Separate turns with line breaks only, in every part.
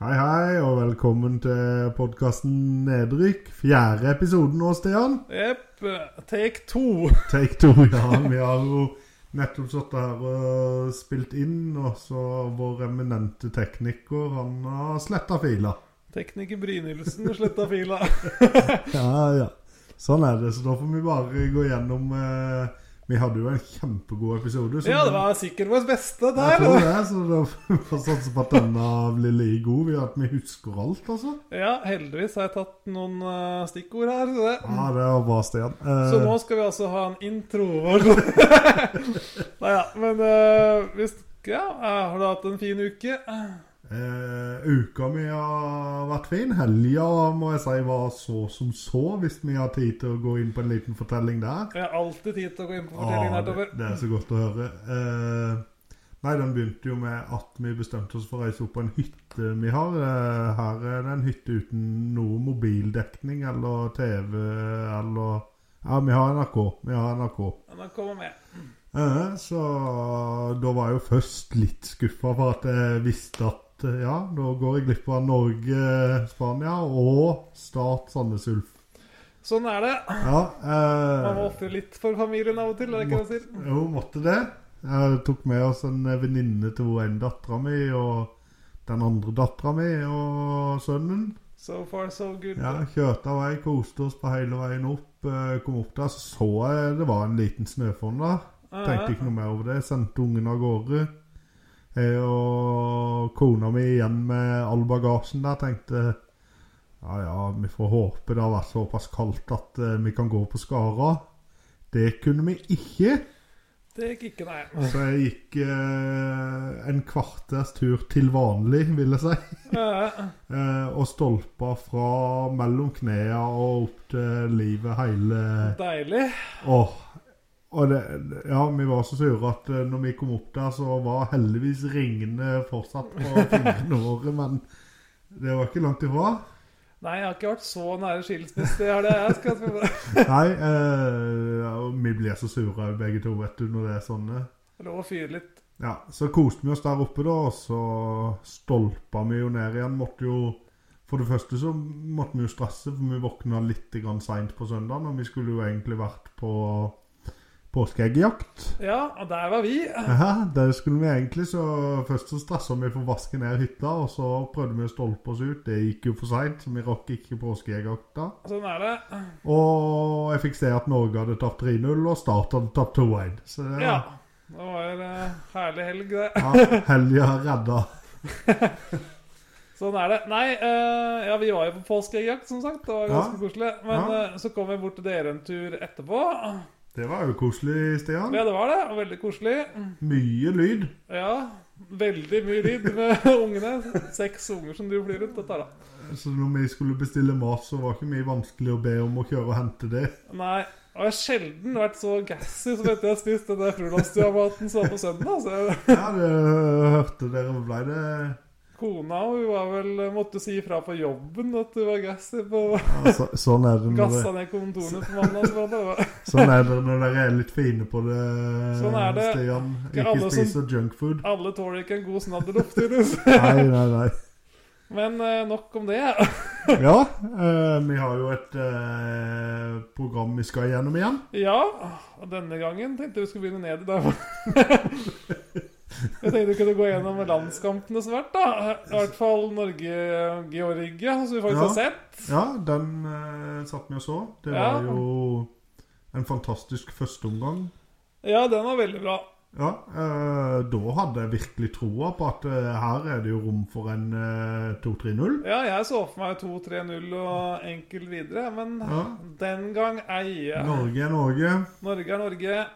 Hei, hei, og velkommen til podkasten Nedrykk. Fjerde episoden nå, Stian.
Jepp. Take to.
Take two, ja. Vi har jo nettopp sittet her og spilt inn, og så vår eminente tekniker, han har sletta fila.
Tekniker Brynildsen sletta fila.
Ja, ja. Sånn er det. Så da får vi bare gå gjennom eh, Vi hadde jo en kjempegod episode. så-
Ja, det var sikkert vårt beste
Jeg tror
der.
det, så da får vi satse på at denne blir like god. Vi- At vi husker alt, altså.
Ja, heldigvis har jeg tatt noen eh, stikkord her. Så, det.
Ja, det var bra, Stian. Eh,
så nå skal vi altså ha en intro. Nei ja, men eh, hvis Ja, eh, har du hatt en fin uke?
Eh, uka mi har vært fin. Helga må jeg si var så som så, hvis vi har tid til å gå inn på en liten fortelling der.
Jeg har alltid tid til å gå inn på fortellingen
Ah,
her.
det,
Topper.
det er så godt å høre. Eh, nei, den begynte jo med at vi bestemte oss for å reise opp på en hytte vi har. Eh, her er det en hytte uten noe mobildekning eller TV eller Ja, vi har NRK. Vi har NRK.
Men den kommer med.
Eh, Så da var jeg jo først litt skuffa for at jeg visste at eh, ja, da går jeg glipp av Norge, Spania og Start Sandnes Ulf.
Sånn er det.
Ja,
Man må
eh,
ofre litt for familien av og til. er det ikke det jeg sier?
jo, måtte det. Jeg tok med oss en venninne til hun ene dattera mi og den andre dattera mi og sønnen.
So far, so good.
Ja, Kjørte av vei, koste oss på hele veien opp. eh, Kom opp der, så så jeg det var en liten snøfonn der.
Eh,
Tenkte ikke noe mer over det. Sendte ungen av gårde. Jeg og kona mi igjen med all bagasjen der tenkte ja ja, vi får håpe det har vært såpass kaldt at eh, vi kan gå på Skara. Det kunne vi ikke,
Det gikk ikke, nei.
så jeg gikk eh, en kvarters tur til vanlig, vil jeg si.
Eh,
Eh, og stolpa fra mellom knærne og opp til livet hele
Deilig.
Åh, og det, ja, vi var så sure at eh, når vi kom opp der, så var heldigvis ringene fortsatt på fingrene våre, men det var ikke langt ifra.
Nei, jeg har ikke vært så nære skilsmisse. Jeg har det. Jeg skal spørre.
Nei, eh, ja, og vi ble så sure begge to, vet du, når det er sånne.
Det er Lov å fyre litt.
Ja, så koste vi oss der oppe da, og så stolpa vi jo ned igjen. Måtte jo, for det første så måtte vi jo stresse, for vi våkna litt seint på søndagen, og vi skulle jo egentlig vært på påskeeggjakt.
Ja, og der var vi.
Ja, det skulle vi egentlig, så først så stressa vi for å vaske ned hytta, og så prøvde vi å stolpe oss ut. Det gikk jo for seint, så vi rakk ikke påskejegerjakta.
Sånn er det.
Og jeg fikk se at Norge hadde tapt 3-0, og Start hadde tapt 2-1. Så det,
Ja. Det var en eh, herlig helg, det.
ja, helga redda.
Sånn er det. Nei, eh, ja, vi var jo på påskeeggjakt, som sagt. Det var ganske
Ja.
koselig. Men
Ja.
eh, så kom vi bort til dere en tur etterpå.
Det var jo koselig, Stian.
Ja, det var det. og Veldig koselig.
Mye lyd.
Ja. Veldig mye lyd med ungene. Seks unger som du flyr rundt. Dette, da.
Så når vi skulle bestille mat, så var ikke mye vanskelig å be om å kjøre og hente det.
Nei. Og jeg har sjelden vært så gassy som etter jeg har spist den der frolastua-maten som var på søndag. Så jeg
Ja, det hørte dere ble det
Kona hun var vel, måtte si ifra på jobben at du var gassy på
ja, så, Sånn er det når
gassa
det,
ned kontorene på mandag. så det var-
sånn er det når dere er litt fine på det,
Sånn er det.
Stian.
Ikke
Ikke
alle som-
spiser junkfood.
Alle tåler ikke en god snadderluft, tydeligvis.
Nei, nei, nei.
Men eh, nok om det.
Ja, eh, vi har jo et eh, program vi skal gjennom igjen.
Ja, og denne gangen tenkte jeg vi skulle begynne ned i dag. Jeg tenkte vi kunne gå gjennom landskampene som har vært, da. I hvert fall Norge-Georgia, som vi faktisk
Ja.
har sett.
Ja, den eh, satt vi og så. Det
Ja.
var jo en fantastisk førsteomgang.
Ja, den var veldig bra.
Ja, eh, da hadde jeg virkelig troa på at eh, her er det jo rom for en eh, 2-3-0.
Ja, jeg så for meg 2-3-0 og enkelt videre, men
Ja.
den gang ei.
Norge er Norge.
Norge er Norge.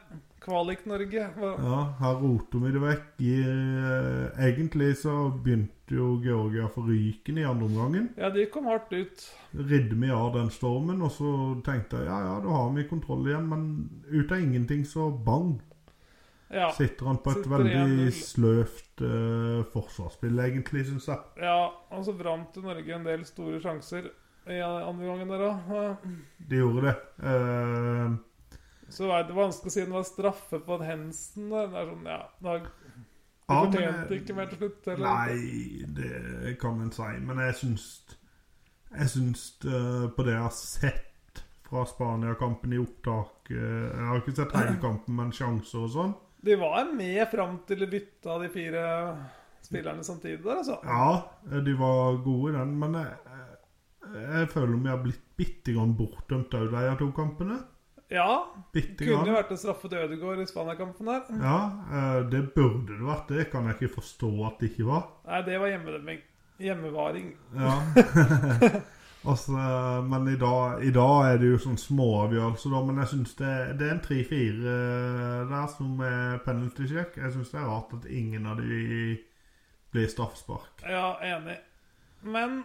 Kvalik-Norge. Hva-
Ja, her roter vi det vekk. I, eh, egentlig så begynte jo Georgia for ryken i andre omgangen.
Ja, de kom hardt ut.
Ridde vi av den stormen, og så tenkte jeg ja, ja, da har vi kontroll igjen. Men ut av ingenting så bang,
Ja.
sitter han på et
Sitter
veldig
1-0.
sløvt eh, forsvarsspill, egentlig, syns jeg.
ja og så brant jo Norge en del store sjanser i andre gangen der òg.
Det gjorde det. Eh,
Så er det vanskelig å si om det var straffe på en Hensen. der. Det er sånn, ja, da, Du
Ja, men- eh,
fortjente ikke mer til slutt? Eller?
Nei, det kan en si. Men jeg syns Jeg syns eh, på det jeg har sett fra Spania-kampen i opptak eh, Jeg har ikke sett hele kampen, men sjanser og sånn.
De var med fram til de bytta de fire spillerne samtidig der, altså.
Ja, eh, de var gode i den, men jeg, jeg- jeg føler vi har blitt bitte grann bortdømt òg, de her to kampene.
Ja,
Bitte
Kunne jo
grann.
vært en straffet Ødegaard i Spania-kampen her.
Ja, eh, det burde det vært. Det kan jeg ikke forstå at det ikke var.
Nei, det var hjemmedømming. Hjemmevaring.
Ja. altså, men i dag, i dag er det jo sånn småavgjørelser, da. Men jeg syns det, det er en 3-4 der som er penalty-sjekk. Jeg syns det er rart at ingen av de blir straffespark.
Ja, enig. Men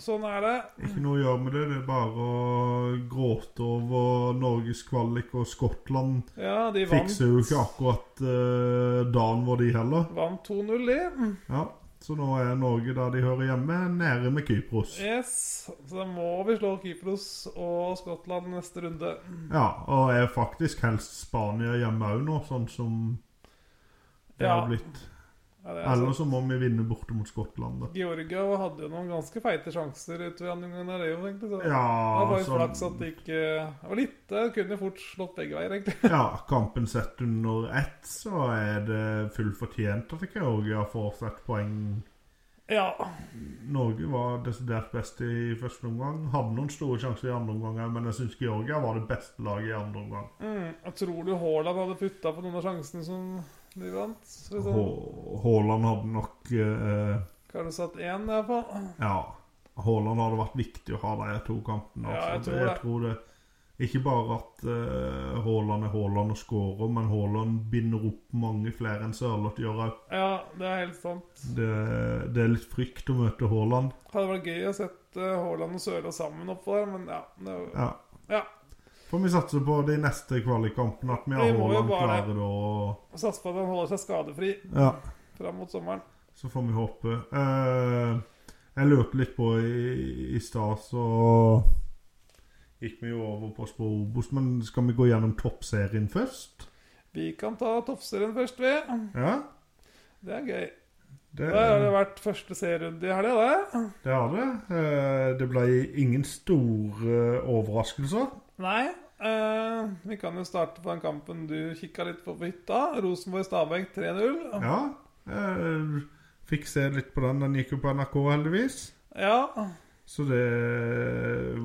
sånn er det.
Ikke noe å gjøre med det. Det er bare å gråte over Norges kvalik og Skottland.
Ja, de vant,
Fikser jo ikke akkurat eh, dagen vår, de heller.
vant 2-0, de.
Ja, Så nå er Norge der de hører hjemme, nede med Kypros.
Yes. Så da må vi slå Kypros og Skottland neste runde.
Ja, og er faktisk helst Spania hjemme òg nå, sånn som det
Ja,
har blitt.
Ja, det er
Eller
sant.
så må vi vinne borte mot Skottland, da.
Georgia hadde jo noen ganske feite sjanser utover andre gangen av Reo, egentlig. Så.
Ja,
Det var bare
sånn-
flaks at det ikke Det var litt Det kunne fort slått begge veier, egentlig.
ja, kampen sett under ett, så er det fullt fortjent at Georgia får sett poeng.
Ja.
Norge var desidert best i første omgang. Hadde noen store sjanser i andre omgang, òg, men jeg syns Georgia var det beste laget i andre omgang.
Mm. Jeg tror du Haaland hadde putta på noen av sjansene som de vant? Liksom.
Hå- Haaland hadde nok eh,
Kanskje satt én, iallfall.
Ja. Haaland hadde vært viktig å ha de to kampene.
Ja, jeg
Altså.
tror det.
tror det. Ikke bare at eh, Haaland er Haaland og skårer, men Haaland binder opp mange flere enn Sørloth gjør òg.
Ja, det er helt sant.
Det, det er litt frykt å møte Haaland.
Hadde vært gøy å sett eh, Haaland og Sørloth sammen oppå der, men ja. Det, var-
Ja.
Ja.
Får vi satse på de neste kvalikkampene, at vi har
Vi må jo
Haaland
bare-
klare da. og-
Satser på at han holder seg skadefri
Ja,
fram mot sommeren.
så får vi håpe. Eh, jeg lurte litt på i, i stad, så gikk vi jo over på Sporobos, men skal vi gå gjennom toppserien først?
Vi kan ta toppserien først, vi.
Ja,
Det er gøy.
det,
Der har det vært første serierunde i helga, det.
det har det. Eh, det ble ingen store overraskelser.
Nei. eh, vi kan jo starte på den kampen du kikka litt på på hytta. Rosenborg-Stabæk 3-0.
Ja. eh, fikk se litt på den. Den gikk jo på NRK, heldigvis.
Ja.
Så det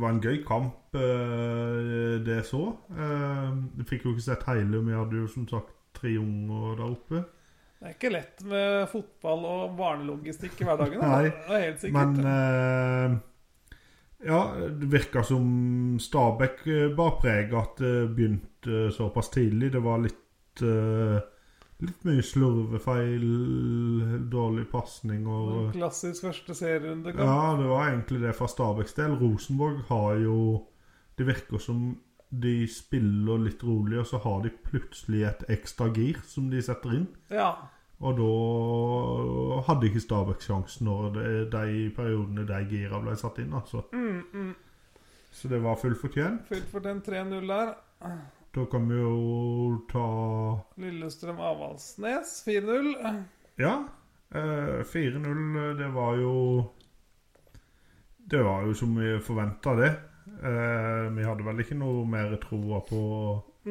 var en gøy kamp, eh, det jeg så. Eh, Jeg fikk jo ikke sett hele, vi hadde jo som sagt tre unger der oppe.
Det er ikke lett med fotball og barnelogistikk i hverdagen.
Nei,
det er helt sikkert.
Men eh, ja, det virka som Stabæk eh, bar preg av at det begynte eh, såpass tidlig. Det var litt eh, Litt mye slurvefeil, dårlig pasning og
En Klassisk første serierundekamp.
Ja, det var egentlig det fra Stabæks del. Rosenborg har jo Det virker som de spiller litt rolig, og så har de plutselig et ekstra gir som de setter inn.
Ja.
Og da hadde ikke Stabæk sjansen når de, de periodene de gira ble satt inn, altså.
Mm, mm.
Så det var fullt fortjent.
Fylt for den 3-0 der.
Da kan vi jo ta
Lillestrøm Avaldsnes 4-0.
Ja, eh, 4-0, det var jo Det var jo som vi forventa, det. Eh, vi hadde vel ikke noe mer troa på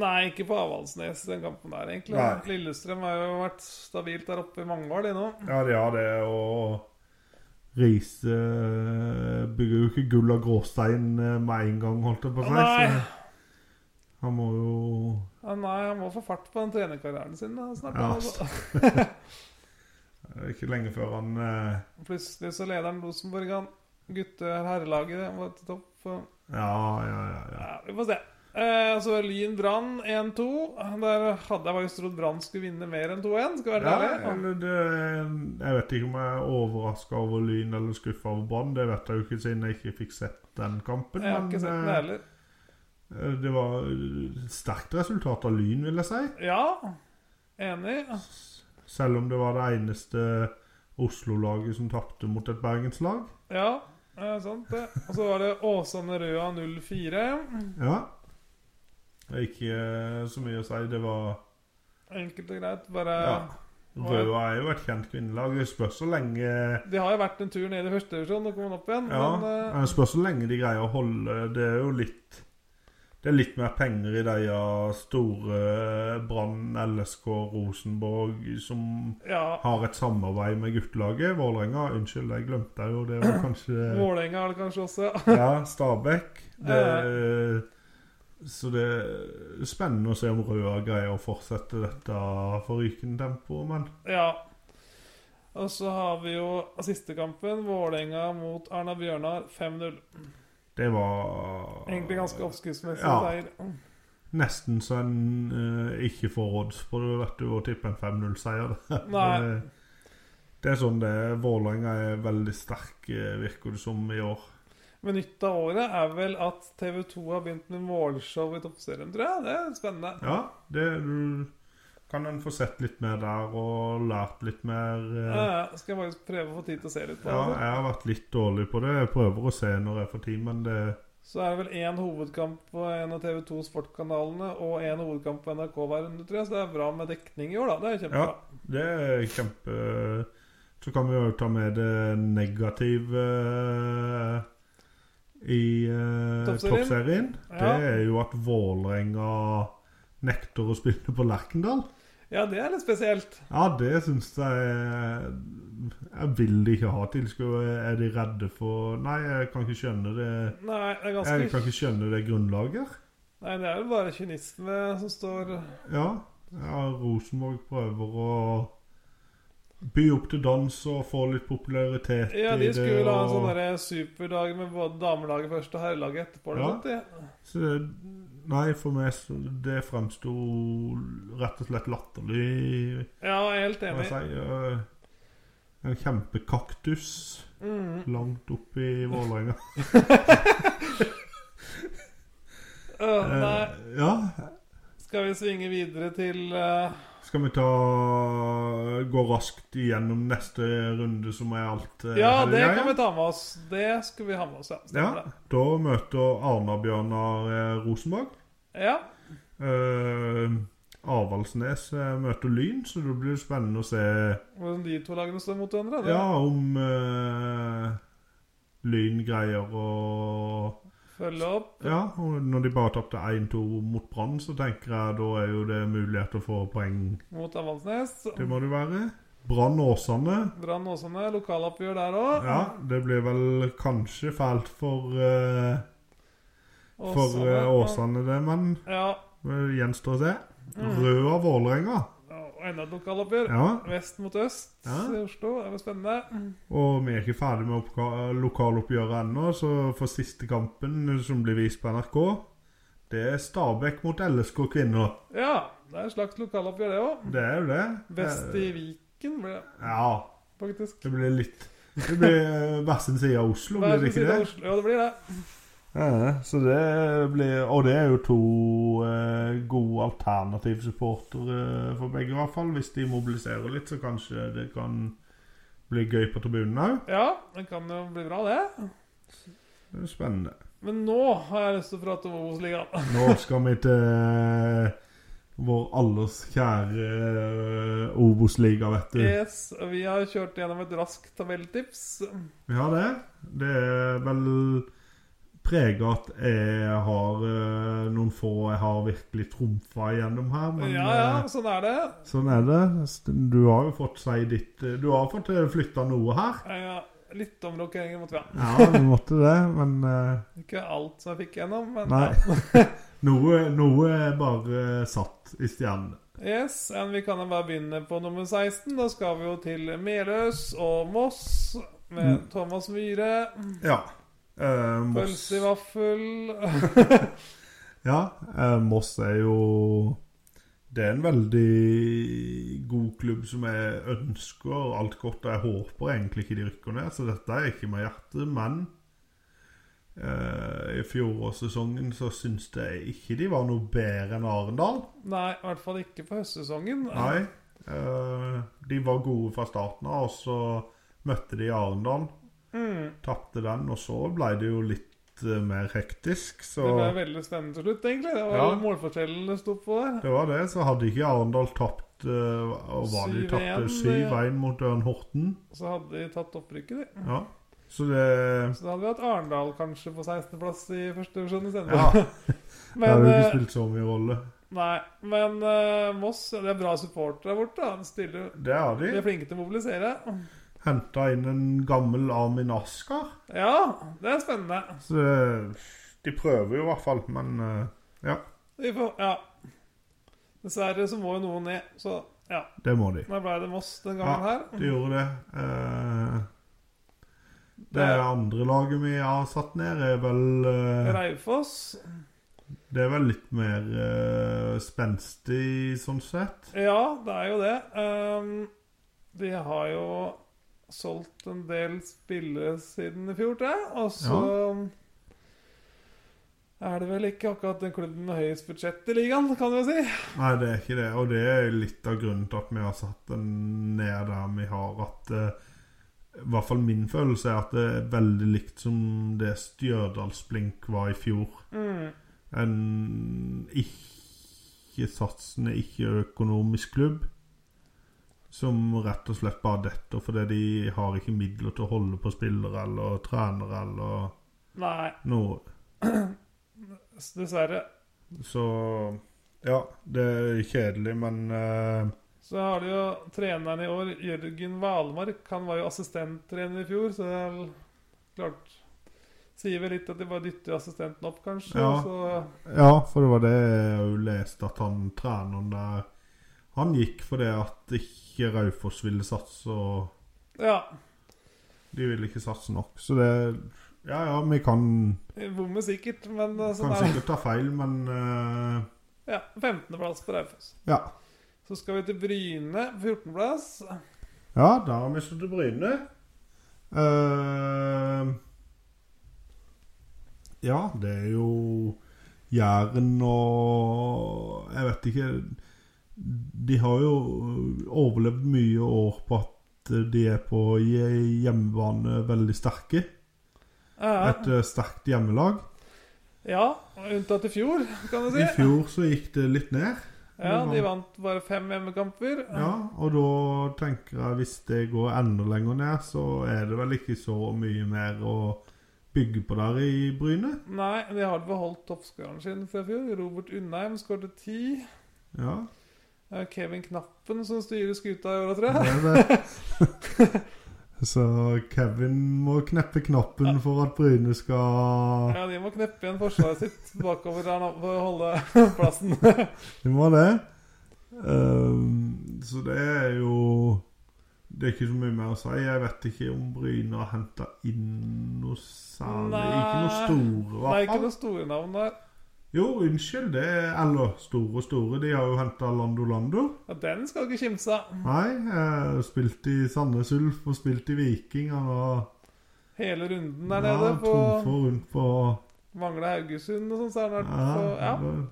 Nei, ikke på Avaldsnes den kampen der, egentlig.
Nei.
Lillestrøm har jo vært stabilt der oppe i mange år, de nå.
Ja, de har det, og Riise eh, bygger jo ikke gull av gråstein eh, med en gang, holdt jeg på å si.
Nei.
Så han må jo
Ja, nei, han må få fart på den trenerkarrieren sin da, snart.
Ja.
Altså.
eh, Ikke lenge før han eh,
Plutselig så leder han Rosenborg an. Gutte-herrelaget det var til topp. og-
Ja, ja, ja. ja.
Ja, vi får se. Eh, så Lyn Brann 1-2. Der hadde jeg faktisk trodd Brann skulle vinne mer enn 2-1. Skal være
ja
ærlig.
eller det, jeg vet ikke om jeg er overraska over Lyn eller skuffa over Brann. Det vet jeg jo ikke siden jeg ikke fikk sett den kampen.
Jeg har ikke sett den
eh,
heller.
eh, det var et sterkt resultat av Lyn, vil jeg si.
Ja, enig.
Selv om det var det eneste Oslo-laget som tapte mot et bergenslag.
Ja, eh, sant det. Og så var det Åsane Røa 04.
Ja. Det er ikke eh, så mye å si. Det var
Enkelt og greit. Bare
ja. Røa er jo et kjent kvinnelag. Det spørs så lenge
De har jo vært en tur ned i første divisjon og kommet opp igjen,
Ja,
men eh,
det spørs så lenge de greier å holde Det er jo litt Det er litt mer penger i de ja, store eh, Brann, LSK, Rosenborg som
eh, ja.
har et samarbeid med guttelaget. Vålerenga Unnskyld, jeg glemte jo det. var kanskje
Vålerenga er det kanskje også. ja.
Ja, Stabæk. Det, så det er spennende å se om Røa greier å fortsette dette forrykende tempoet, men
Ja. Og så har vi jo siste kampen. Vålerenga mot Arna Bjørnar 5-0.
det var
Egentlig ganske oppskriftsmessig
Ja.
seier.
Nesten så en eh, ikke får odds på det, vet du, å tippe en 5-0-seier.
Nei.
Det, det er sånn det er. Vålerenga er veldig sterk, eh, virker det som, i år.
Men nytt av året er vel at TV2 har begynt med målshow i Toppserien, tror jeg. Det er spennende.
Ja, det du, kan en få sett litt mer der og lært litt mer. eh.
Eh, skal jeg faktisk prøve å få tid til å se litt på
Ja,
det.
jeg har vært litt dårlig på det. Jeg prøver å se når jeg får tid, men det
Så er det vel én hovedkamp på en av TV2 Sportkanalene og én hovedkamp på NRK hver runde, tror jeg. Så det er bra med dekning i år, da. Det er kjempebra.
Ja. Det er kjempe Så kan vi jo ta med det negative eh, i eh,
Toppserien.
toppserien.
Ja.
Det er jo at Vålerenga nekter å spille på Lerkendal.
Ja. det er litt spesielt.
Ja, det syns jeg Jeg vil ikke ha tilskuere. Er de redde for Nei, jeg kan ikke skjønne det.
Nei, det er
Jeg
ganske
kan ikke skjønne det grunnlaget.
Nei, det er vel bare kynisme som står
Ja, ja Rosenborg prøver å by opp til dans og få litt popularitet
Ja,
i
de
det.
skulle vel ha
og-
en sånn der superdag med både damelaget først og herrelaget etterpå. eller
Ja.
sånt, ja.
Så det- Nei, for meg så- det fremsto rett og slett latterlig.
ja, jeg er helt
må Jeg
enig.
si. Eh, En kjempekaktus
Mhm.
langt opp i Vålerenga.
Øh, nei,
Eh, ja.
skal vi svinge videre til eh,
Skal vi ta gå raskt igjennom neste runde, som er alt eh,
Ja,
her i
det
greia?
kan vi ta med oss. Det skulle vi ha med oss, ja. Stemmer
Ja, da møter Arna-Bjørnar eh, Rosenborg.
det. Ja.
Eh, Avaldsnes eh, møter Lyn, så det blir spennende å se
Hvordan de to lagene står mot hverandre. Det
ja, om eh, Lyn greier å
Følge opp.
Ja, og når de bare tapte 1-2 mot Brann, så tenker jeg da er jo det mulighet til å få poeng.
mot Avaldsnes.
Det må det være. Brann-Åsane.
Brann Åsane, lokaloppgjør der òg.
Ja, det blir vel kanskje fælt for, eh, for eh, Åsane, det, men
Ja.
det gjenstår å se.
Mm.
Røa-Vålerenga.
Og enda et lokaloppgjør.
Ja,
Vest mot øst
Ja.
i Oslo. Det var spennende.
og vi er ikke ferdig med oppga- lokaloppgjøret ennå, så for siste kampen som blir vist på NRK, det er Stabæk mot LSK kvinner.
Ja, det er et slags lokaloppgjør, det òg.
Det er jo det. Eh,
Vest i Viken ble det
Ja,
faktisk.
det blir litt Det blir eh, hver sin side av Oslo, blir det
Hver sin
ikke
side av
det?
Oslo. Ja, det blir det.
Ja, så det blir Og det er jo to eh, gode alternative supportere eh, for begge, i hvert fall. Hvis de mobiliserer litt, så kanskje det kan bli gøy på tribunen òg.
Ja, det kan jo bli bra, det.
Det er spennende.
Men nå har jeg lyst til å prate om Obos-ligaen.
Nå skal vi til eh, vår alles kjære eh, Obos-liga, vet du.
Yes, vi har kjørt gjennom et raskt tabelltips.
Vi har det. Det er vel preget at jeg har eh, noen få jeg har virkelig trumfa igjennom her, men
Ja, ja,
eh,
sånn er det.
sånn er det. Du har jo fått si ditt eh, Du har fått flytta noe her.
Ja, litt omrokeringer måtte vi ha.
Ja, du måtte det, men eh,
Ikke alt som jeg fikk gjennom, men
Nei. Noe, noe er bare satt i stjernene.
Yes, and vi kan jo bare begynne på nummer 16. Da skal vi jo til Meløs og Moss
Mm.
med Thomas Myhre.
Ja. Eh, Moss
Pølse i vaffel.
Ja, eh, Moss er jo Det er en veldig god klubb som jeg ønsker alt godt. og Jeg håper egentlig ikke de rykker ned, så dette er ikke med hjertet. Men eh, i fjorårssesongen så syns jeg ikke de var noe bedre enn Arendal.
Nei, i hvert fall ikke på høstsesongen.
Nei. eh, de var gode fra starten av, og så møtte de Arendal.
Mm,
Tapte den, og så ble det jo litt eh, mer hektisk, så
det ble veldig spennende til slutt, egentlig. Det var
Ja.
målforskjellen det sto på der.
Det var det. Så hadde ikke Arendal tapt eh, og var de
7-1,
tapte
det-
7-1 mot Ørn Horten.
Så hadde de tatt opprykket, de.
Ja. Så det
Så da hadde vi hatt Arendal kanskje på 16.-plass i første divisjon istedenfor.
Ja, det
Men,
hadde jo
eh,
ikke spilt så mye rolle.
nei, men eh, Moss ja, det er bra supportere der borte. da. De, stiller,
Det har
de
de.
er flinke til å mobilisere.
Henta inn en gammel Armin Asker.
Ja, det er spennende.
Så det- de prøver jo i hvert fall, men eh,
Vi får, ja. Dessverre så må jo noen ned, så ja.
det må de.
Da ble det Moss den gangen her.
De gjorde det. Eh, det andre laget vi har satt ned, er vel eh,
Raufoss.
Det er vel litt mer eh, spenstig, sånn sett.
Ja, det er jo det. Ehm, de har jo solgt en del spillere siden i fjor, tror jeg. Og så er det vel ikke akkurat den klubben med høyest budsjett i ligaen, kan du jo si.
Nei, det er ikke det. Og det er litt av grunnen til at vi har satt den ned der vi har at eh, I hvert fall min følelse er at det er veldig likt som det Stjørdalsblink var i fjor.
Mm.
En ikke-satsende, ikke-økonomisk klubb som rett og slett bare detter fordi de har ikke midler til å holde på spillere eller trenere eller
Nei,
noe.
s- dessverre.
Så ja, det er kjedelig, men eh,
Så har de jo treneren i år, Jørgen Valmark. Han var jo assistenttrener i fjor, så det er vel klart Sier vel litt at de bare dytter assistenten opp, kanskje.
Ja.
Så
Ja, for det var det jeg jo leste, at han treneren der Han gikk fordi at ikke Raufoss ville satse, og
ja.
de ville ikke satse nok. Så det Ja ja, vi kan,
vi Bommer sikkert, men eh, sånn
kan
er det.
sikkert ta feil, men eh,
Ja, 15.-plass på Raufoss.
ja.
Så skal vi til Bryne, 14.-plass.
ja, da har vi stått til Bryne. Eh, ja, det er jo Jæren og Jeg vet ikke De har jo øh, overlevd mye år på at øh, de er på hje- hjemmebane veldig sterke.
Ja,
Et eh, sterkt hjemmelag.
ja, unntatt i fjor, kan du si.
I fjor så gikk det litt ned.
Ja, De vant bare fem hjemmekamper.
Ja, og da tenker jeg hvis det går enda lenger ned, så er det vel ikke så mye mer å bygge på der i Bryne.
Nei, de har beholdt toppskåreren sin fra i fjor. Robert Undheim skåret ti.
Ja,
Det er Kevin Knappen som styrer skuta i år, tror jeg.
det er det. Så Kevin må kneppe knappen for at Bryne skal
Ja, De må kneppe igjen forsvaret sitt bakover der nå for å holde plassen.
De må det. Ehm, så det er jo Det er ikke så mye mer å si. Jeg vet ikke om Bryne har henta inn noe særlig. Ikke noe
Nei.
store, i
Det er
hvert
ikke
fall.
noe store navn der.
Jo, unnskyld. Det er eller store, store. De har jo henta Lando Lando.
Ja, Den skal du ikke kimse av.
Nei, eh, spilt i Sandnes Ulf og spilt i Viking. Han har
Hele runden der nede
ja,
på
trumfa rundt på
Mangla Haugesund og sånn. Så er han vært
ja,
på, ja.
det-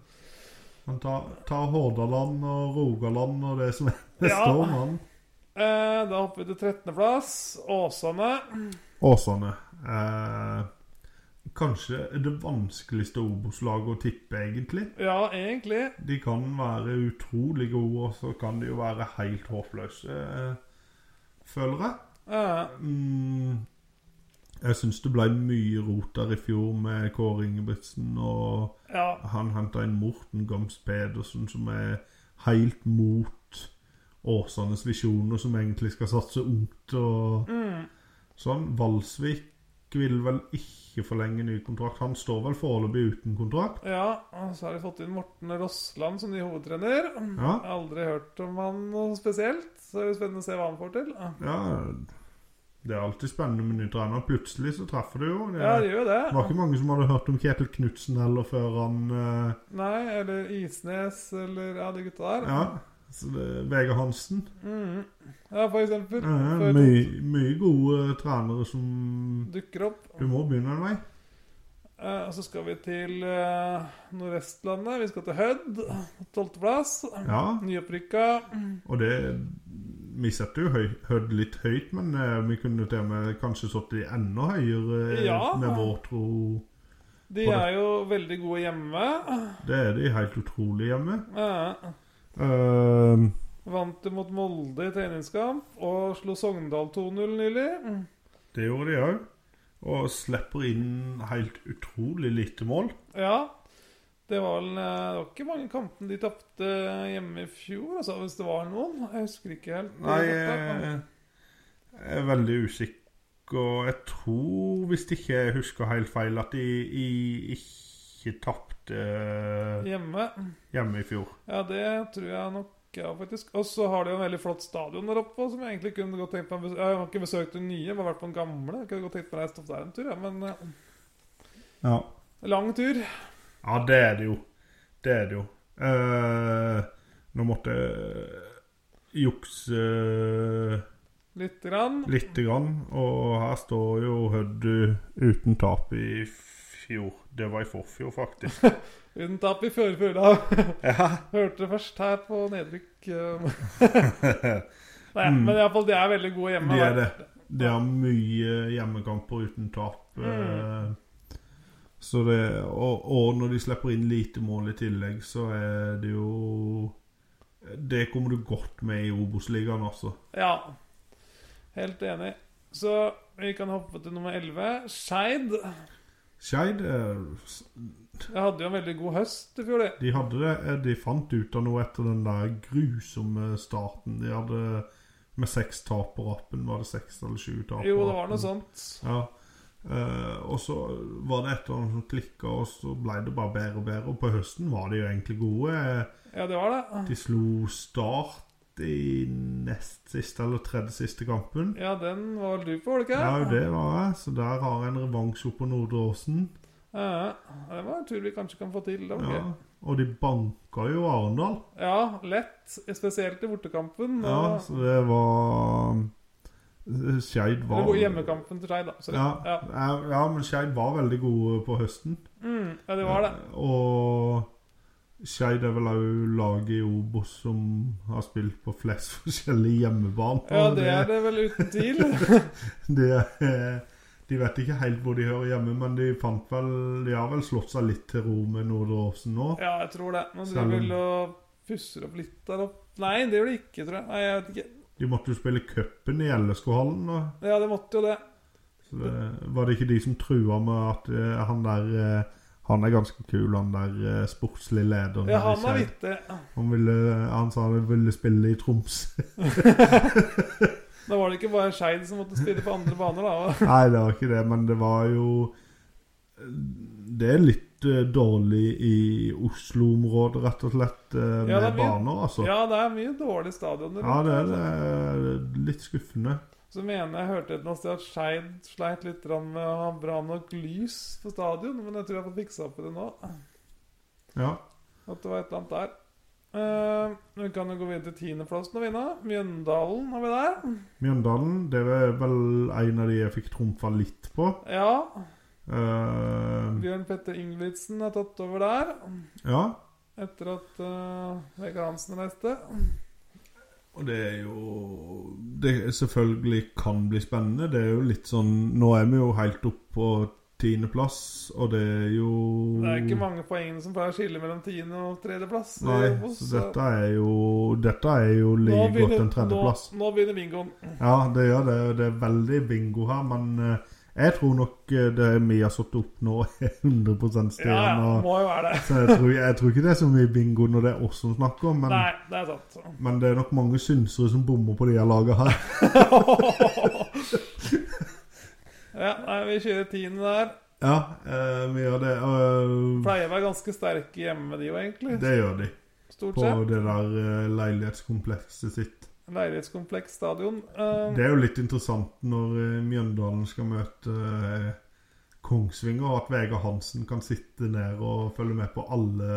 Han tar, tar Hordaland og Rogaland og det som er neste
Ja.
år, mann.
Eh, Da hopper vi til 13.-plass. Åsane.
Åsane. Eh, kanskje det vanskeligste Obos-laget å tippe, egentlig.
Ja, egentlig.
De kan være utrolig gode, og så kan de jo være helt håpløse, eh, føler jeg.
Eh,
Mm, jeg syns det ble mye rot der i fjor med Kåre Ingebrigtsen, og
Ja.
han henta inn Morten Gams Pedersen, som er helt mot Åsanes visjoner, som egentlig skal satse ungt og
Mm.
Sånn, Valsvik vil vel ikke forlenge ny kontrakt. Han står vel foreløpig uten kontrakt.
Ja, og så har de fått inn Morten Rossland som ny hovedtrener. Jeg
Ja.
har aldri hørt om han noe spesielt, så det er jo spennende å se hva han får til.
ja. Det er alltid spennende med ny trener. Plutselig så treffer du jo. Det
Ja, det gjør jo
det var
det.
ikke mange som hadde hørt om Kjetil Knutsen heller før han eh,
Nei, eller Isnes, eller ja, de gutta der.
Ja. Så det, Vegard Hansen.
Mhm. Ja, for eksempel.
Eh,
Før
mye, mye gode eh, trenere som
dukker opp.
Du må begynne en vei.
Eh, og så skal vi til eh, Nordvestlandet. Vi skal til Hødd. Tolvteplass.
Ja.
Nyopprykka.
Og det Vi setter jo høy, Hødd litt høyt, men eh, vi kunne til og med kanskje satt de enda høyere eh,
Ja.
med vår tro.
De
Var det-
er jo veldig gode hjemme.
Det er de helt utrolig hjemme.
Eh,
Eh,
Vant det mot Molde i treningskamp og slo Sogndal 2-0 nylig. Mm.
Det gjorde de òg. Og slipper inn helt utrolig lite mål.
Ja. Det var vel eh, Det var ikke mange kampene de tapte hjemme i fjor, altså, hvis det var noen. Jeg husker ikke helt.
Nei, eh, jeg jeg er veldig usikker. Jeg tror, hvis ikke jeg husker helt feil, at de, i- ikke tapte eh,
Hjemme.
hjemme i fjor.
Ja, det tror jeg nok. Ja, faktisk. Og så har de jo en veldig flott stadion der oppe. Som Jeg egentlig kunne godt tenkt meg å besø- Jeg har ikke besøkt den nye, bare vært på den gamle. Jeg kunne godt tenkt meg å reise opp der en tur, ja. men eh,
Ja.
lang tur.
Ja, det er det jo. Det er det jo. Eh, nå måtte jeg jukse eh,
Litt grann.
lite grann, og her står jo Hødd eh, uten tap i fjor. Det var i forfjor, faktisk.
Uten tap i førfjorda.
Ja.
Hørte det først her på nedrykk. eh. Nei, Men i alle fall, de er veldig gode hjemme.
Mm. De er
da.
det. De har mye hjemmekamper uten tap.
Mm.
eh, Så det, og, og når de slipper inn lite mål i tillegg, så er det jo Det kommer du godt med i Obos-ligaen, altså.
Ja. Helt enig. Så vi kan hoppe til nummer 11. Skeid.
Skeid eh, s-
Jeg hadde jo en veldig god høst i fjor, det.
De hadde det. eh, De fant ut av noe etter den der grusomme starten. De hadde med seks tap på rappen. Var det seks eller sju tap? på
Jo, det var
rappen?
noe sånt.
Ja. Eh, og så var det et eller annet som klikka, og så ble det bare bedre og bedre. Og på høsten var de jo egentlig gode.
Ja, det var det.
De slo Start i nest siste eller tredje siste kampen.
Ja, den var du på, var det ikke?
Ja, det var jeg. Så der har jeg en revansj oppe på Nordre Åsen.
Ja, det var en tur vi kanskje kan få til. Da.
Ja. Og de banka jo Arendal.
ja, lett. Spesielt i bortekampen.
Ja,
og-
så det var eh, Skeid
Eller
var
hvor- hjemmekampen til Skeid, da. Sorry.
Ja,
Ja.
ja, ja, men Skeid var veldig gode på høsten.
Mm, ja, det var det.
Eh, Og Skeid er vel òg laget i Obos som har spilt på flest forskjellige hjemmebaner.
Ja, det er det vel uten tvil.
det er- eh, de vet ikke helt hvor de hører hjemme, men de fant vel De har vel slått seg litt til ro med Nordre Åsen nå.
Ja, jeg tror det. Nå
Selv om-
driver vel og pusser opp litt der opp Nei, det gjør det ikke, tror jeg. Nei, jeg vet ikke.
De måtte jo spille cupen i LSK-hallen. da.
Ja, det måtte jo det.
Så det, var det ikke de som trua med at eh, han der eh, Han er ganske kul, han der eh, sportslige lederen.
Ja,
her i
han er
Skeid.
vittig.
han, ville, han sa han ville spille i Troms.
Da var det ikke bare Skeid som måtte spille på andre baner, da.
Nei, det var ikke det, men det var jo eh, Det er litt eh, dårlig i Oslo-området, rett og slett, eh, med
Ja, det er mye-
baner, altså. Ja,
Ja, det er mye dårlige stadioner. rundt
det
her,
er
altså.
det. Litt skuffende.
Så mener jeg hørte et eller annet sted at Skeid sleit litt grann med å ha bra nok lys på stadion, men jeg tror jeg får fiksa opp i det nå.
Ja.
At det var et eller annet der. Eh, vi kan jo gå videre til tiendeplassen og vinne. Mjøndalen har vi der.
Mjøndalen, det var vel en av de jeg fikk trumfa litt på.
Ja.
Eh,
Bjørn Petter Ingebrigtsen har tatt over der.
ja.
Etter at uh, Vegard Hansen reiste.
Og det er jo Det selvfølgelig kan bli spennende. Det er jo litt sånn Nå er vi jo helt oppe på tiendeplass, og det er jo
Det er ikke mange poengene som pleier å skille mellom tiende- og tredjeplass. i
Mm. Nei,
Obos,
så
så-
dette er jo Dette er jo like
Nå
godt
begynner-
en tredjeplass.
Nå, nå begynner bingoen.
Ja, det gjør det. Det er veldig bingo her, men eh, jeg tror nok eh, det vi har satt opp nå, er 100
Ja, ja,
stjerne.
må jo være det.
Så jeg tror, jeg tror ikke det er så mye bingo når det er oss som snakker, men,
Nei, det er sant.
men det er nok mange synsere som bommer på de her laga her.
ja, nei, vi kjører tiende der.
Ja, eh, vi gjør det. og
Pleier å være ganske sterke hjemme, de jo, egentlig.
det gjør de
Stort
på
sett.
det der eh, leilighetskomplekset sitt.
Leilighetskompleks stadion. Eh,
Det er jo litt interessant når eh, Mjøndalen skal møte eh, Kongsvinger, at Vegard Hansen kan sitte ned og følge med på alle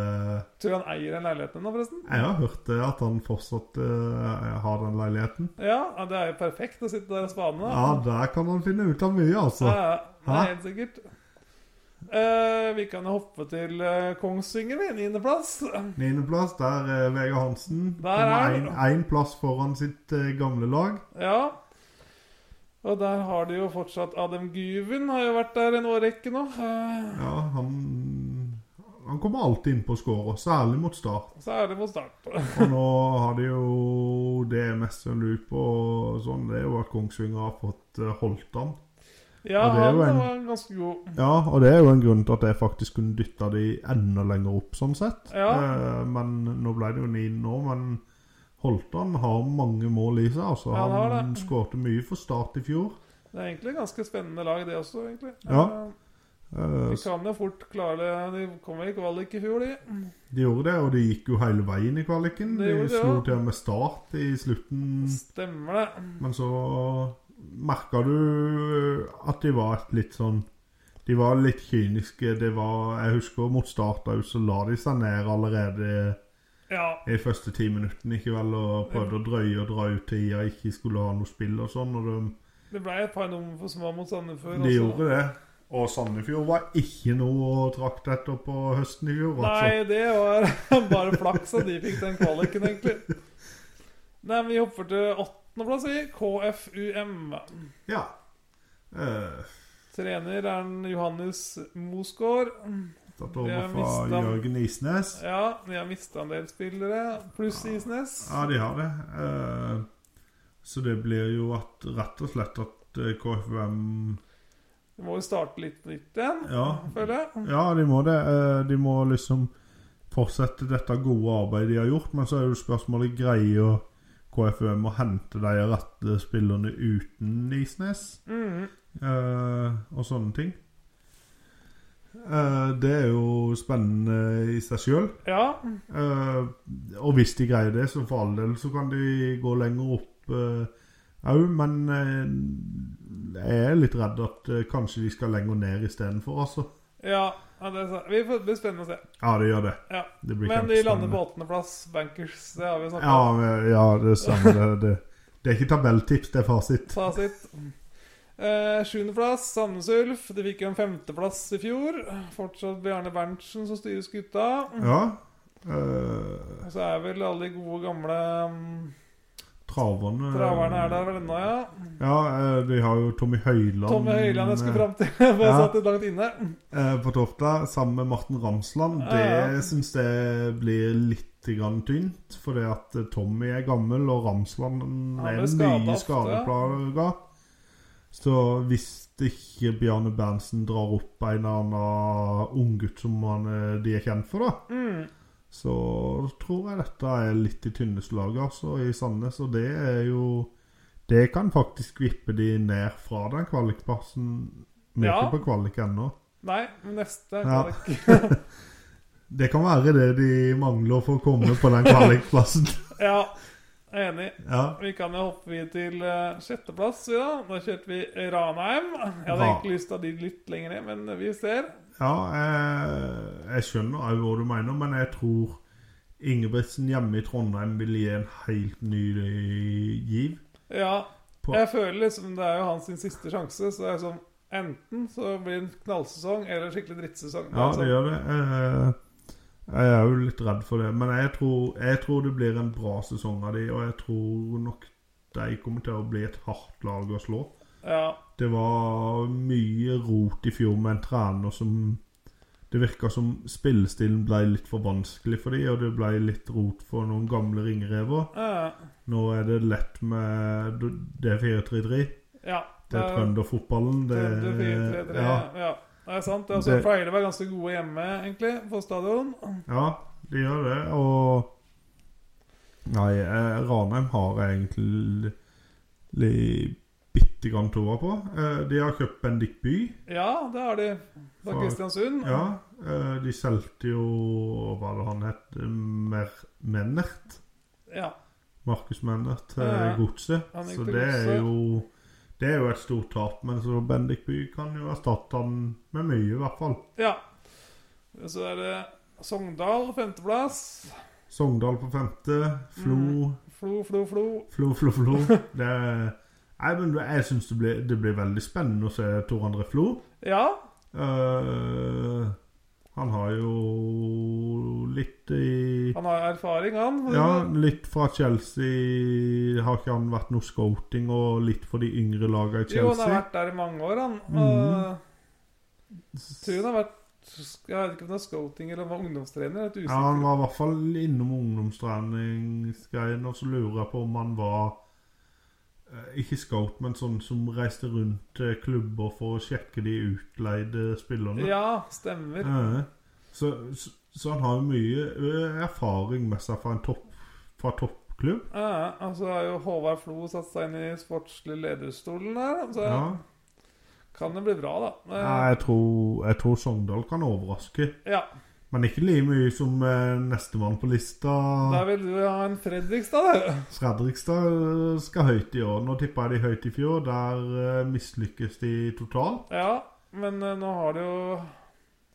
Tror han eier den leiligheten nå, forresten?
Jeg har hørt det, at han fortsatt eh, har den leiligheten.
Ja, ja, det er jo perfekt å sitte der og spane.
Ja, der kan han finne ut av mye, altså.
Ja, det
Hæ?
er helt sikkert. Eh, vi kan jo hoppe til eh, Kongsvinger, vi. Niendeplass.
Niendeplass, der er Vegard Hansen.
Der er han.
Én plass foran sitt eh, gamle lag.
Ja. Og der har de jo fortsatt Adem Güven, har jo vært der en årrekke nå. Eh,
Ja, han Han kommer alltid inn på skåret, særlig mot Start.
Så er det mot start.
Og nå har de jo det mest jeg lurer på, og sånn, det er jo at Kongsvinger har fått eh, holdt han.
Ja,
Og det er
han
jo en-
var ganske god.
Ja, og det er jo en grunn til at jeg faktisk kunne dytta de enda lenger opp, sånn sett.
Ja.
Eh, men nå ble det jo ni nå, men Holtan har mange mål i seg. altså.
Ja, han har
han
det.
skårte mye for Start i fjor.
Det er egentlig et ganske spennende lag, det også, egentlig.
Ja.
De
Eh,
kan jo fort klare det. De kom vel i kvalik i fjor, de.
de gjorde det, og de gikk jo hele veien i kvaliken.
Det
De
gjorde de,
slo
ja.
til og med Start i slutten.
Stemmer det.
Men så merka du eh, at de var et litt sånn De var litt kyniske. Det var, jeg husker mot Start òg, så la de seg ned allerede.
Ja.
i første ti minuttene ikke vel, og prøvde å drøye og dra ut tida, ikke skulle ha noe spill og sånn. og de,
Det ble et par nummer for små mot Sandefjord. altså.
de
også.
gjorde det. Og Sandefjord var ikke noe å trakte etter på høsten i fjor. altså.
Nei, det var bare flaks at de fikk den kvaliken, egentlig. Nei, men vi hopper til åttendeplass i KFUM.
Ja. Eh,
Trener er en Johannes Mosgaard.
Tatt
Det
over
er
fra
mistet.
Jørgen Isnes.
Ja, de har mista en del spillere, pluss Isnes.
Ja, de har det. Eh, så det blir jo at, rett og slett at eh, KFUM
Vi må jo starte litt nytt igjen,
Ja.
føler jeg.
Ja, de må det. Eh, De må liksom fortsette dette gode arbeidet de har gjort. Men så er jo spørsmålet greier KFUM å hente de rette spillerne uten Isnes
Mhm.
eh, og sånne ting. Eh, det er jo spennende i seg sjøl.
Ja.
Eh, og hvis de greier det, så for all del så kan de gå lenger opp òg, men eh, jeg er litt redd at eh, kanskje de skal lenger ned istedenfor, altså.
ja. ja det er sant. Vi får, det blir spennende å se.
Ja, det gjør det.
Ja.
Det blir
Men de lander på
kjempespennende.
åttendeplass, Bankers. Det har vi snakka om.
Ja, men- ja, det stemmer. Det, det, det er ikke tabelltips, det er fasit.
Fasit. Eh, Sjuendeplass, Sandnes Ulf. De fikk jo en femteplass i fjor. Fortsatt Bjarne Berntsen som styrer skuta.
Ja. eh,
Og så er vel alle de gode, gamle mm,
traverne
traverne er der vel ennå, ja.
Ja, eh, de har jo Tommy Høiland
Tommy Høiland jeg skulle
eh,
fram til. Bare
Ja.
satt litt langt inne.
eh, på Tofta sammen med Martin Ramsland.
Ja, ja.
Det syns jeg blir litt grann tynt, fordi at eh, Tommy er gammel, og Ramsland
Han
er
blir skadet
mye
ofte.
skadeplaga. Så hvis ikke Bjarne Berntsen drar opp en eller annen unggutt som han, eh, de er kjent for, da
Mm.
så tror jeg dette er litt i tynneste laget, altså, i Sandnes. Og det er jo Det kan faktisk vippe de ned fra den kvalikplassen. Vi er
Ja.
ikke på kvalik ennå.
Nei, men neste
Ja.
kan det ikke.
Det kan være det de mangler for å komme på den kvalikplassen.
Ja, jeg er enig.
ja.
Vi kan jo hoppe videre til eh, sjetteplass. Ja. Da kjørte vi Ranheim. Jeg hadde
Ra-
egentlig lyst til å ha de litt lenger ned, men vi ser.
ja jeg, jeg skjønner òg hva du mener, men jeg tror Ingebrigtsen hjemme i Trondheim vil gi en helt ny giv.
Ja.
På-
Jeg føler liksom det er jo hans sin siste sjanse, så det er sånn Enten så blir det en knallsesong eller en skikkelig drittsesong.
Ja,
er
det
sånn,
gjør det. Eh, Jeg er jo litt redd for det, men jeg tror, jeg tror det blir en bra sesong av de, og jeg tror nok de kommer til å bli et hardt lag å slå.
ja.
Det var mye rot i fjor med en trener som Det virka som spillestilen ble litt for vanskelig for de, og det ble litt rot for noen gamle ringrever.
eh,
Nå er det lett med Det er 4-3-3.
ja.
Det er trønderfotballen. Det
Trønder 4-3-3.
ja.
Ja. Det er sant. Det er også
Det-
pleier det å være ganske gode hjemme, egentlig, på stadion.
Ja, de gjør det, og Nei, eh, Ranheim har jeg egentlig li- bitte grann troa på. Eh, de har kjøpt Bendik By.
Ja, det har de. Fra
Fra-
Kristiansund.
Ja, eh, de solgte jo Hva var det han het? Mer Mennert?
Ja.
Markus Mennert til
Ja, ja.
Godset.
Han gikk
Så
til
det er
Godset.
jo det er jo et stort tap, men så Bendik By kan jo erstatte han med mye, i hvert fall.
ja. Så er det Sogndal, femteplass.
Sogndal på femte, Flo
Mm. Flo, Flo, Flo.
Flo, flo, flo. Det, nei, men jeg syns det, blir- det blir veldig spennende å se Tor André Flo.
Ja.
Eh, han har jo litt i
Han har erfaring, han.
Ja, litt fra Chelsea har ikke han vært noe scouting, og litt for de yngre lagene i
Jo, han har
Chelsea. Mm.
vært der i mange år, han.
Mhm.
Og- Tror hun har vært Jeg vet ikke om det var scouting eller om det var ungdomstrener. Jeg er litt
Ja, han
usikker.
var i hvert fall innom ungdomstreningsgreien, og så lurer jeg på om han var eh, ikke scout, men sånn som reiste rundt til klubber for å sjekke de utleide spillerne.
Ja, stemmer.
Ja. Så, så, så han har jo mye eh, erfaring med seg fra en topp, fra toppklubb.
Ja, og så har jo Håvard Flo satt seg inn i sportslig lederstolen her, så
Ja.
kan det bli bra, da. Eh,
Ja, jeg tror, jeg tror Sogndal kan overraske,
Ja,
men ikke like mye som eh, nestemann på lista.
Da vil du ha en Fredrikstad, du.
Fredrikstad eh, skal høyt i år. Nå tippa jeg de høyt i fjor. Der eh, mislykkes de totalt.
Ja, men eh, nå har du jo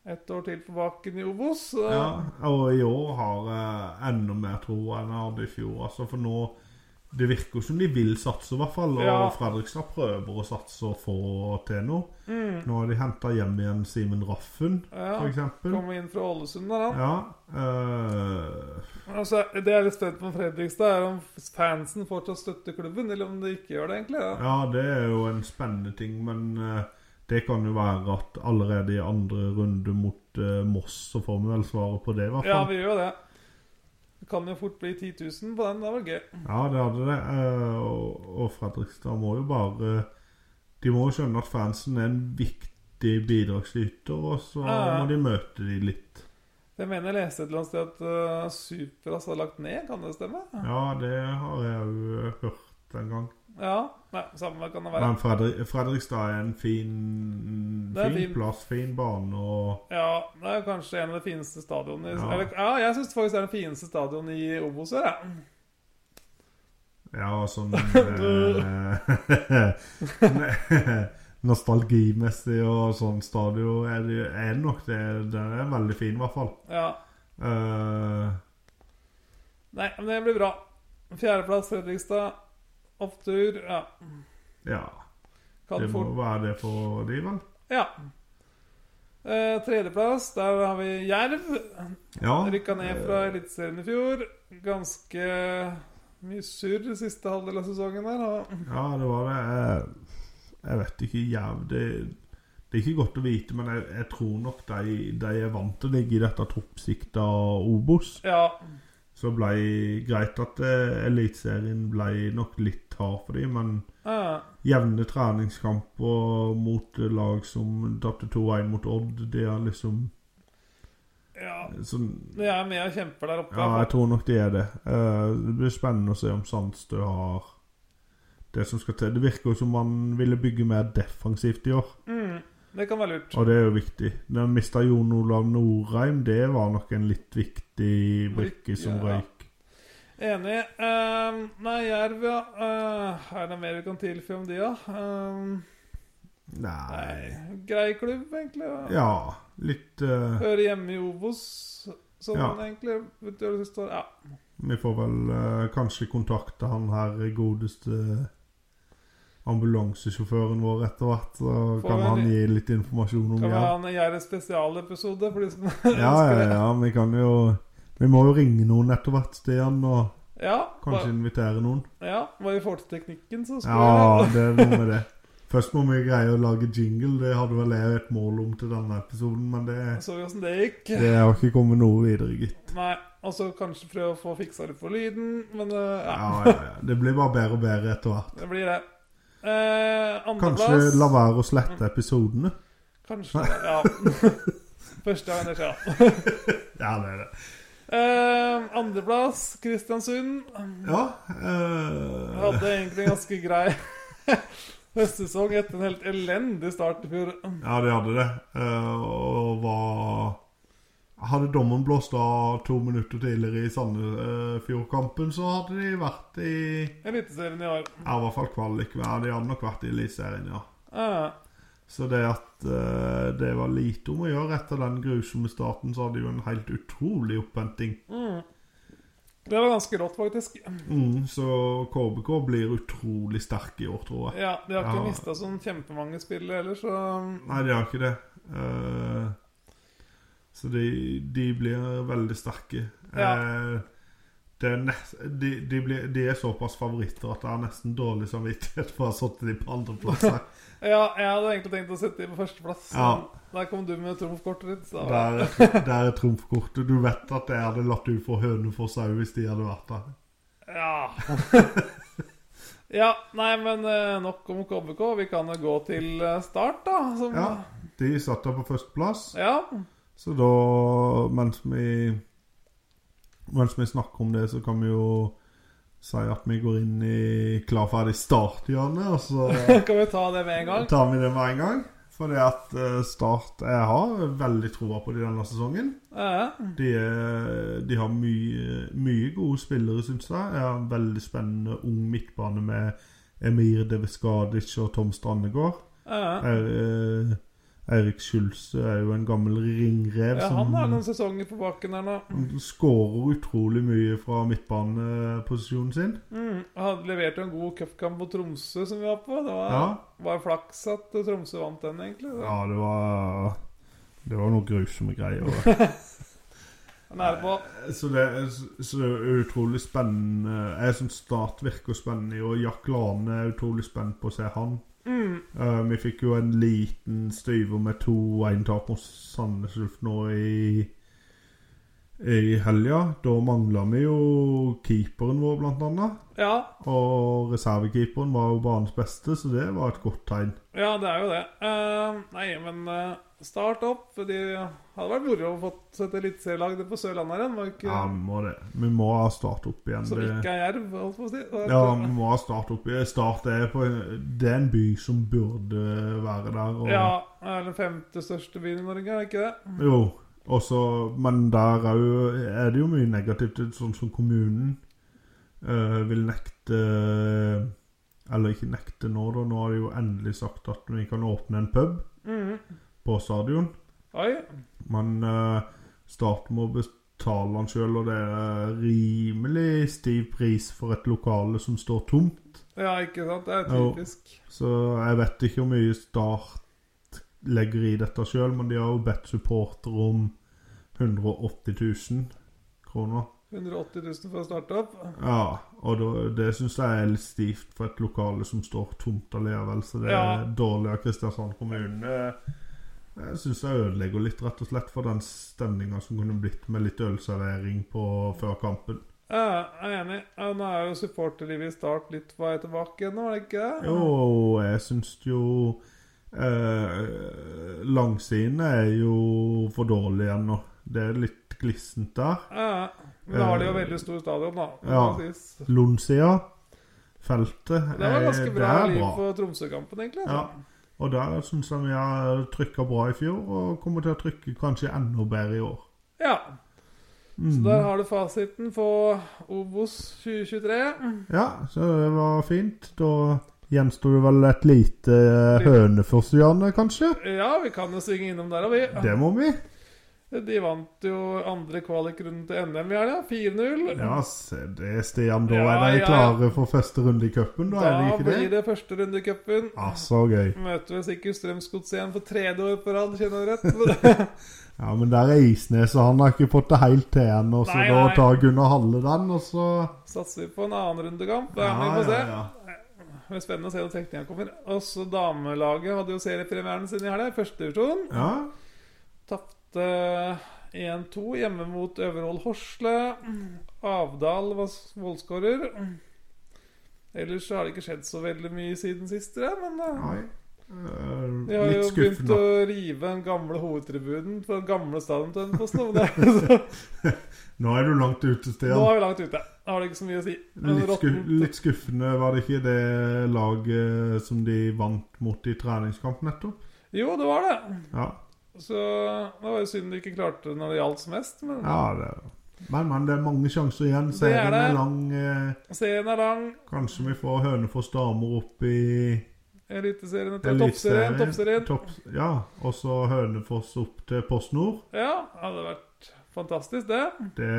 ett år til på baken i Obos. så-
Ja, og i år har jeg enda mer tro enn jeg hadde i fjor. Altså, for nå Det virker jo som de vil satse, i hvert fall. Og
Ja.
Fredrikstad prøver å satse og få til noe.
Mm,
Nå har de henta hjem igjen Simen Raffen,
ja.
for eksempel.
Komme inn fra Ålesund der, han.
Ja. eh,
Altså, det jeg er litt spent på med Fredrikstad, er om fansen fortsatt støtter klubben, eller om de ikke gjør det, egentlig. Ja.
ja, det er jo en spennende ting, men eh, det kan jo være at allerede i andre runde mot eh, Moss, så får vi vel svaret på det, i hvert
ja,
fall.
vi gjør jo det. Det kan jo fort bli 10 000 på den. Det var gøy.
Ja, det hadde det. Eh, Og, og Fredrikstad må jo bare De må jo skjønne at fansen er en viktig bidragsyter, og så
Ja, ja.
må de møte de litt.
Jeg mener jeg leste et eller annet sted at eh, Superas har lagt ned, kan det stemme?
Ja, det har jeg jo eh, hørt en gang.
Ja. Nei, samme kan det være.
Men Fredri Fredrikstad er en fin,
Det er
fin,
fint.
plass, fin bane og
Ja, det er kanskje en av de fineste stadionene i
Ja.
Eller, ja, jeg syns faktisk det er den fineste stadion i Obos her, jeg.
Ja, sånn eh, Nostalgimessig og sånn stadion er det er det nok det. Den er veldig fin, i hvert fall.
Ja.
Eh,
Nei, men det blir bra. Fjerdeplass Fredrikstad. Opptur. Ja.
ja.
Kan
Det må
fort
være det for de, vel?
Ja. Eh, tredjeplass, der har vi Jerv.
Ja.
Rykka ned fra
eh,
Eliteserien i fjor. Ganske mye surr siste halvdel av sesongen der. Og
ja, det var det. Jeg, jeg vet ikke, jæv, det, det er ikke godt å vite, men jeg, jeg tror nok de, de er vant til å ligge i dette toppsiktet av Obos.
ja.
Så ble greit at eh, Eliteserien ble nok litt hard for dem, men
eh,
jevne treningskamper mot lag som tapte 2-1 mot Odd, det er liksom
ja.
sånn
De er med og kjemper der oppe.
Ja, jeg tror nok det er det. Eh, det blir spennende å se om Sandstø har det som skal til. Det virker jo som man ville bygge mer defensivt i år,
mm, det kan være lurt.
og det er jo viktig. De mista Jon Olav Norheim, det var nok en litt viktig brikke som
Ja.
røyk.
Enig. Ehm, nei, Jerv, ja. Eh, er det mer vi kan tilføye om de, da? Ehm,
Nei
grei klubb, egentlig. Ja.
Ja, litt eh,
Hører hjemme i Obos, sånn
Ja. egentlig,
egentlig. Utover det siste året. Ja.
Vi får vel eh, kanskje kontakte han her godeste eh, ambulansesjåføren vår etter hvert, så
Får
kan
vi
han
en-
gi litt informasjon om
Kan vi
Jerv.
ha en Jerv spesialepisode for de som
Ja,
ønsker
ja,
det?
ja, vi kan jo Vi må jo ringe noen etter hvert, Stian, og
Ja,
kanskje invitere noen.
Bare, ja, bare vi får til teknikken, så skal
Ja,
vi
det er noe med det. Først må vi greie å lage jingle. Det hadde vel jeg et mål om til denne episoden, men det,
Så vi åssen det gikk.
det har ikke kommet noe videre, gitt.
Nei, og så kanskje prøve å få fiksa litt på lyden, men eh, ja.
Ja, ja, ja. Det blir bare bedre og bedre etter hvert.
Det blir det. Eh,
Kanskje
Andreplass
la være å slette episodene.
Kanskje. Ja. Første gang det skjer. ja.
Ja, det er det.
Eh, Andreplass, Kristiansund. Jeg
Ja, eh,
Hadde egentlig en ganske grei høstsesong etter en helt elendig start i fjor.
ja de hadde det. Eh, og var Hadde dommen blåst av to minutter tidligere i Sandefjordkampen, så hadde de vært i
Eliteserien i år.
Ja, i hvert fall kvalik. Ja, de hadde nok vært i Eliteserien, ja.
Eh,
Så det at eh, det var lite om å gjøre etter den grusomme starten, så hadde de jo en helt utrolig opphenting.
mm. Det var ganske rått, faktisk.
Mm, så KBK blir utrolig sterk i år, tror jeg.
Ja, De har ikke
Ja.
mista sånn kjempemange spillere heller, så mm.
Nei, de har ikke det. Eh, så de, de blir veldig sterke.
Ja.
Eh, det er nest, de, de, blir, de er såpass favoritter at jeg har nesten dårlig samvittighet for å ha satt dem på andreplasser.
Ja, jeg hadde egentlig tenkt å sette dem på førsteplass. men
Ja.
Der kom du med trumfkortet ditt. Så da-
Der, er- der er trumfkortet. Du vet at jeg hadde latt ut for Hønefoss òg hvis de hadde vært der.
Ja. ja. Nei, men eh, nok om KBK. Vi kan jo gå til eh, start, da. Som,
Ja, de satt der på førsteplass.
Ja.
Så da, mens vi Mens vi snakker om det, så kan vi jo si at vi går inn i klar, ferdig, starthjørnet, og så
Kan vi ta det med en gang?
tar vi det med en gang. For det at eh, Start Jeg har veldig troa på de denne sesongen.
Ja.
De, er, de har mye, mye gode spillere, syns jeg. Jeg har en veldig spennende ung midtbane med Emir Deveskadic og Tom Strandegård.
Ja.
Er, eh, Eirik Schulze er jo en gammel ringrev
ja, han har noen sesonger på bakken her nå.
Han skårer utrolig mye fra midtbaneposisjonen sin.
Mm. Han leverte en god cupkamp mot Tromsø, som vi var på. Det var,
Ja.
var flaks at Tromsø vant den, egentlig.
Ja, det var Det var noe grusomme greier. over det.
Han er på.
så det er så det er utrolig spennende. Jeg syns Start virker spennende, og Jack Lane er utrolig spent på å se han.
Mm.
Eh, vi fikk jo en liten styver med to 1-tap mot Sandnes Ulf nå i i helga. Da mangla vi jo keeperen vår, blant annet.
Ja.
Og reservekeeperen var jo banens beste, så det var et godt tegn.
ja, det er jo det. Eh, nei, men eh, start opp. De hadde vært moro å få et eliteserielag på Sørlandet her igjen. Var ikke...
Ja, vi må det. Vi må ha Start opp igjen.
Som
Det,
ikke er jerv, holdt på å si.
ja, vi må ha Start opp igjen. Start er, på, det er en by som burde være der. Og,
ja, er den femte største byen i Norge, er det ikke det?
Jo, også, men der er, jo, er det jo mye negativt, sånn som kommunen eh, vil nekte Eller ikke nekte nå, da. Nå har de jo endelig sagt at vi kan åpne en pub
Mhm.
på stadion.
Oi.
Men eh, Start må betale han sjøl, og det er eh, rimelig stiv pris for et lokale som står tomt.
Ja, ikke sant? Det er
Jo.
typisk.
Så jeg vet ikke hvor mye Start legger i dette sjøl, men de har jo bedt supporter om 180 000 kroner.
180 000 for å starte opp.
Ja, og da, det syns jeg er litt stivt for et lokale som står tomt allikevel, så det
Ja.
er dårlig av Kristiansand kommune. Jeg syns jeg ødelegger litt, rett og slett, for den stemninga som kunne blitt med litt ølservering på før kampen.
Ja, jeg er enig. Ja, Nå er jo supporterlivet i Start litt på vei tilbake igjen, nå, er det ikke det?
Jo, jeg syns jo eh, Langsidene er jo for dårlige ennå. Det er litt glissent der.
Ja. Men da har de jo veldig stor stadion, da. det
Ja.
må sies.
Lundsida, feltet,
Det var ganske
eh,
bra
det er
liv på Tromsø-kampen, egentlig.
Ja.
altså.
Og der syns jeg vi har trykka bra i fjor, og kommer til å trykke kanskje enda bedre i år.
ja. Så
Mhm.
der har du fasiten på Obos 2023.
Ja, så det var fint. Da gjenstår det vel et lite høneforsgjørne, kanskje?
Ja, vi kan jo svinge innom der, og vi.
Det må vi.
De vant jo andre kvalikrunden til NM i helga, 4-0.
Ja, se det, Stian. Da
Ja,
er de
ja.
klare for første runde i cupen, da, er de
Da
ikke
blir
det?
det første runde i cupen.
Ja, så gøy.
Møter vel sikkert Strømsgodset igjen for tredje år på rad, kjenner jeg rett.
Ja, Men der er Isnes, og han har ikke fått det helt til ennå, så
Nei,
da
nei.
tar Gunnar Halle den, og så
Satser vi på en annen rundekamp. Ja,
Ja,
vi får se.
ja, ja.
Det blir spennende å se når trekninga kommer. Også damelaget hadde jo seriepremieren sin i helga, i første divisjon.
ja.
Tapte 1-2 hjemme mot Øverhold Horsle. Avdal var s- målskårer. Ellers så har det ikke skjedd så veldig mye siden sist, tror jeg, men eh,
Nei. Eh,
de har jo
litt
begynt
skuffende.
å rive den gamle hovedtribunen på den gamle stadion til Hønefoss nå. men det er-
Nå er du langt ute, Stian.
Nå er vi langt ute. Da har det ikke så mye å si. Men
Litt, sku,
råttent-
litt skuffende var det ikke det laget eh, som de vant mot i treningskamp nettopp?
Jo, det var det.
Ja,
Så det var jo synd de ikke klarte det når det gjaldt som mest. Men
ja det Men, men det er mange sjanser igjen.
Det er
Serien er
det.
lang. Eh,
serien er lang.
kanskje vi får Hønefoss damer opp i
Eliteserien etter
Eliteserien.
toppserien. Toppserien.
Topp, ja, og så Hønefoss opp til Post Nord.
Ja, hadde vært fantastisk, det.
Det,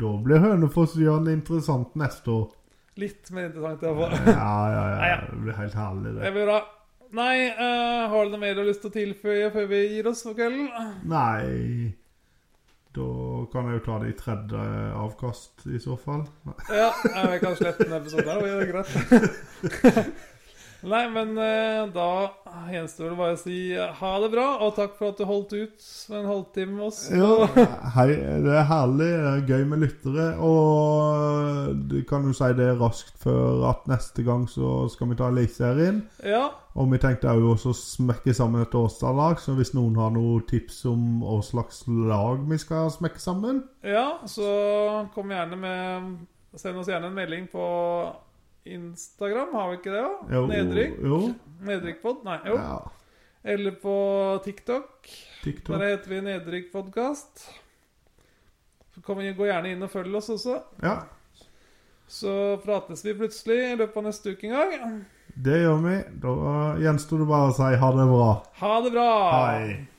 da blir Hønefoss Jørn interessant neste år.
Litt mer interessant,
Ja,
iallfall.
ja, ja.
Ja, ja.
Det blir helt herlig, det.
Det blir bra. Nei, eh, har du noe mer du har lyst til å tilføye før vi gir oss for kvelden?
Nei Da kan jeg jo ta det i tredje avkast, i så fall.
Ja, jeg kan slette en episode her, og gjøre det greit. Nei, men eh, da gjenstår det bare å si eh, ha det bra, og takk for at du holdt ut med en halvtime med oss.
Ja, hei, det er herlig. Det er gøy med lyttere. Og du kan jo si det raskt før at neste gang så skal vi ta Eliteserien.
Ja,
Og vi tenkte jo også å smekke sammen et årsdagslag, så hvis noen har noen tips om hva slags lag vi skal smekke sammen
ja, så kom gjerne med Send oss gjerne en melding på Instagram, har vi ikke det? da?
Jo,
Nedrykk?
Jo.
Nedrykkpod? Nei, jo.
Ja,
Eller på TikTok. Der
TikTok.
heter vi Nedrykkpodkast. Gå gjerne inn og følg oss også.
Ja,
Så prates vi plutselig i løpet av neste uke en gang.
det gjør vi. Da gjenstår det bare å si ha det bra.
Ha det bra!
Hei.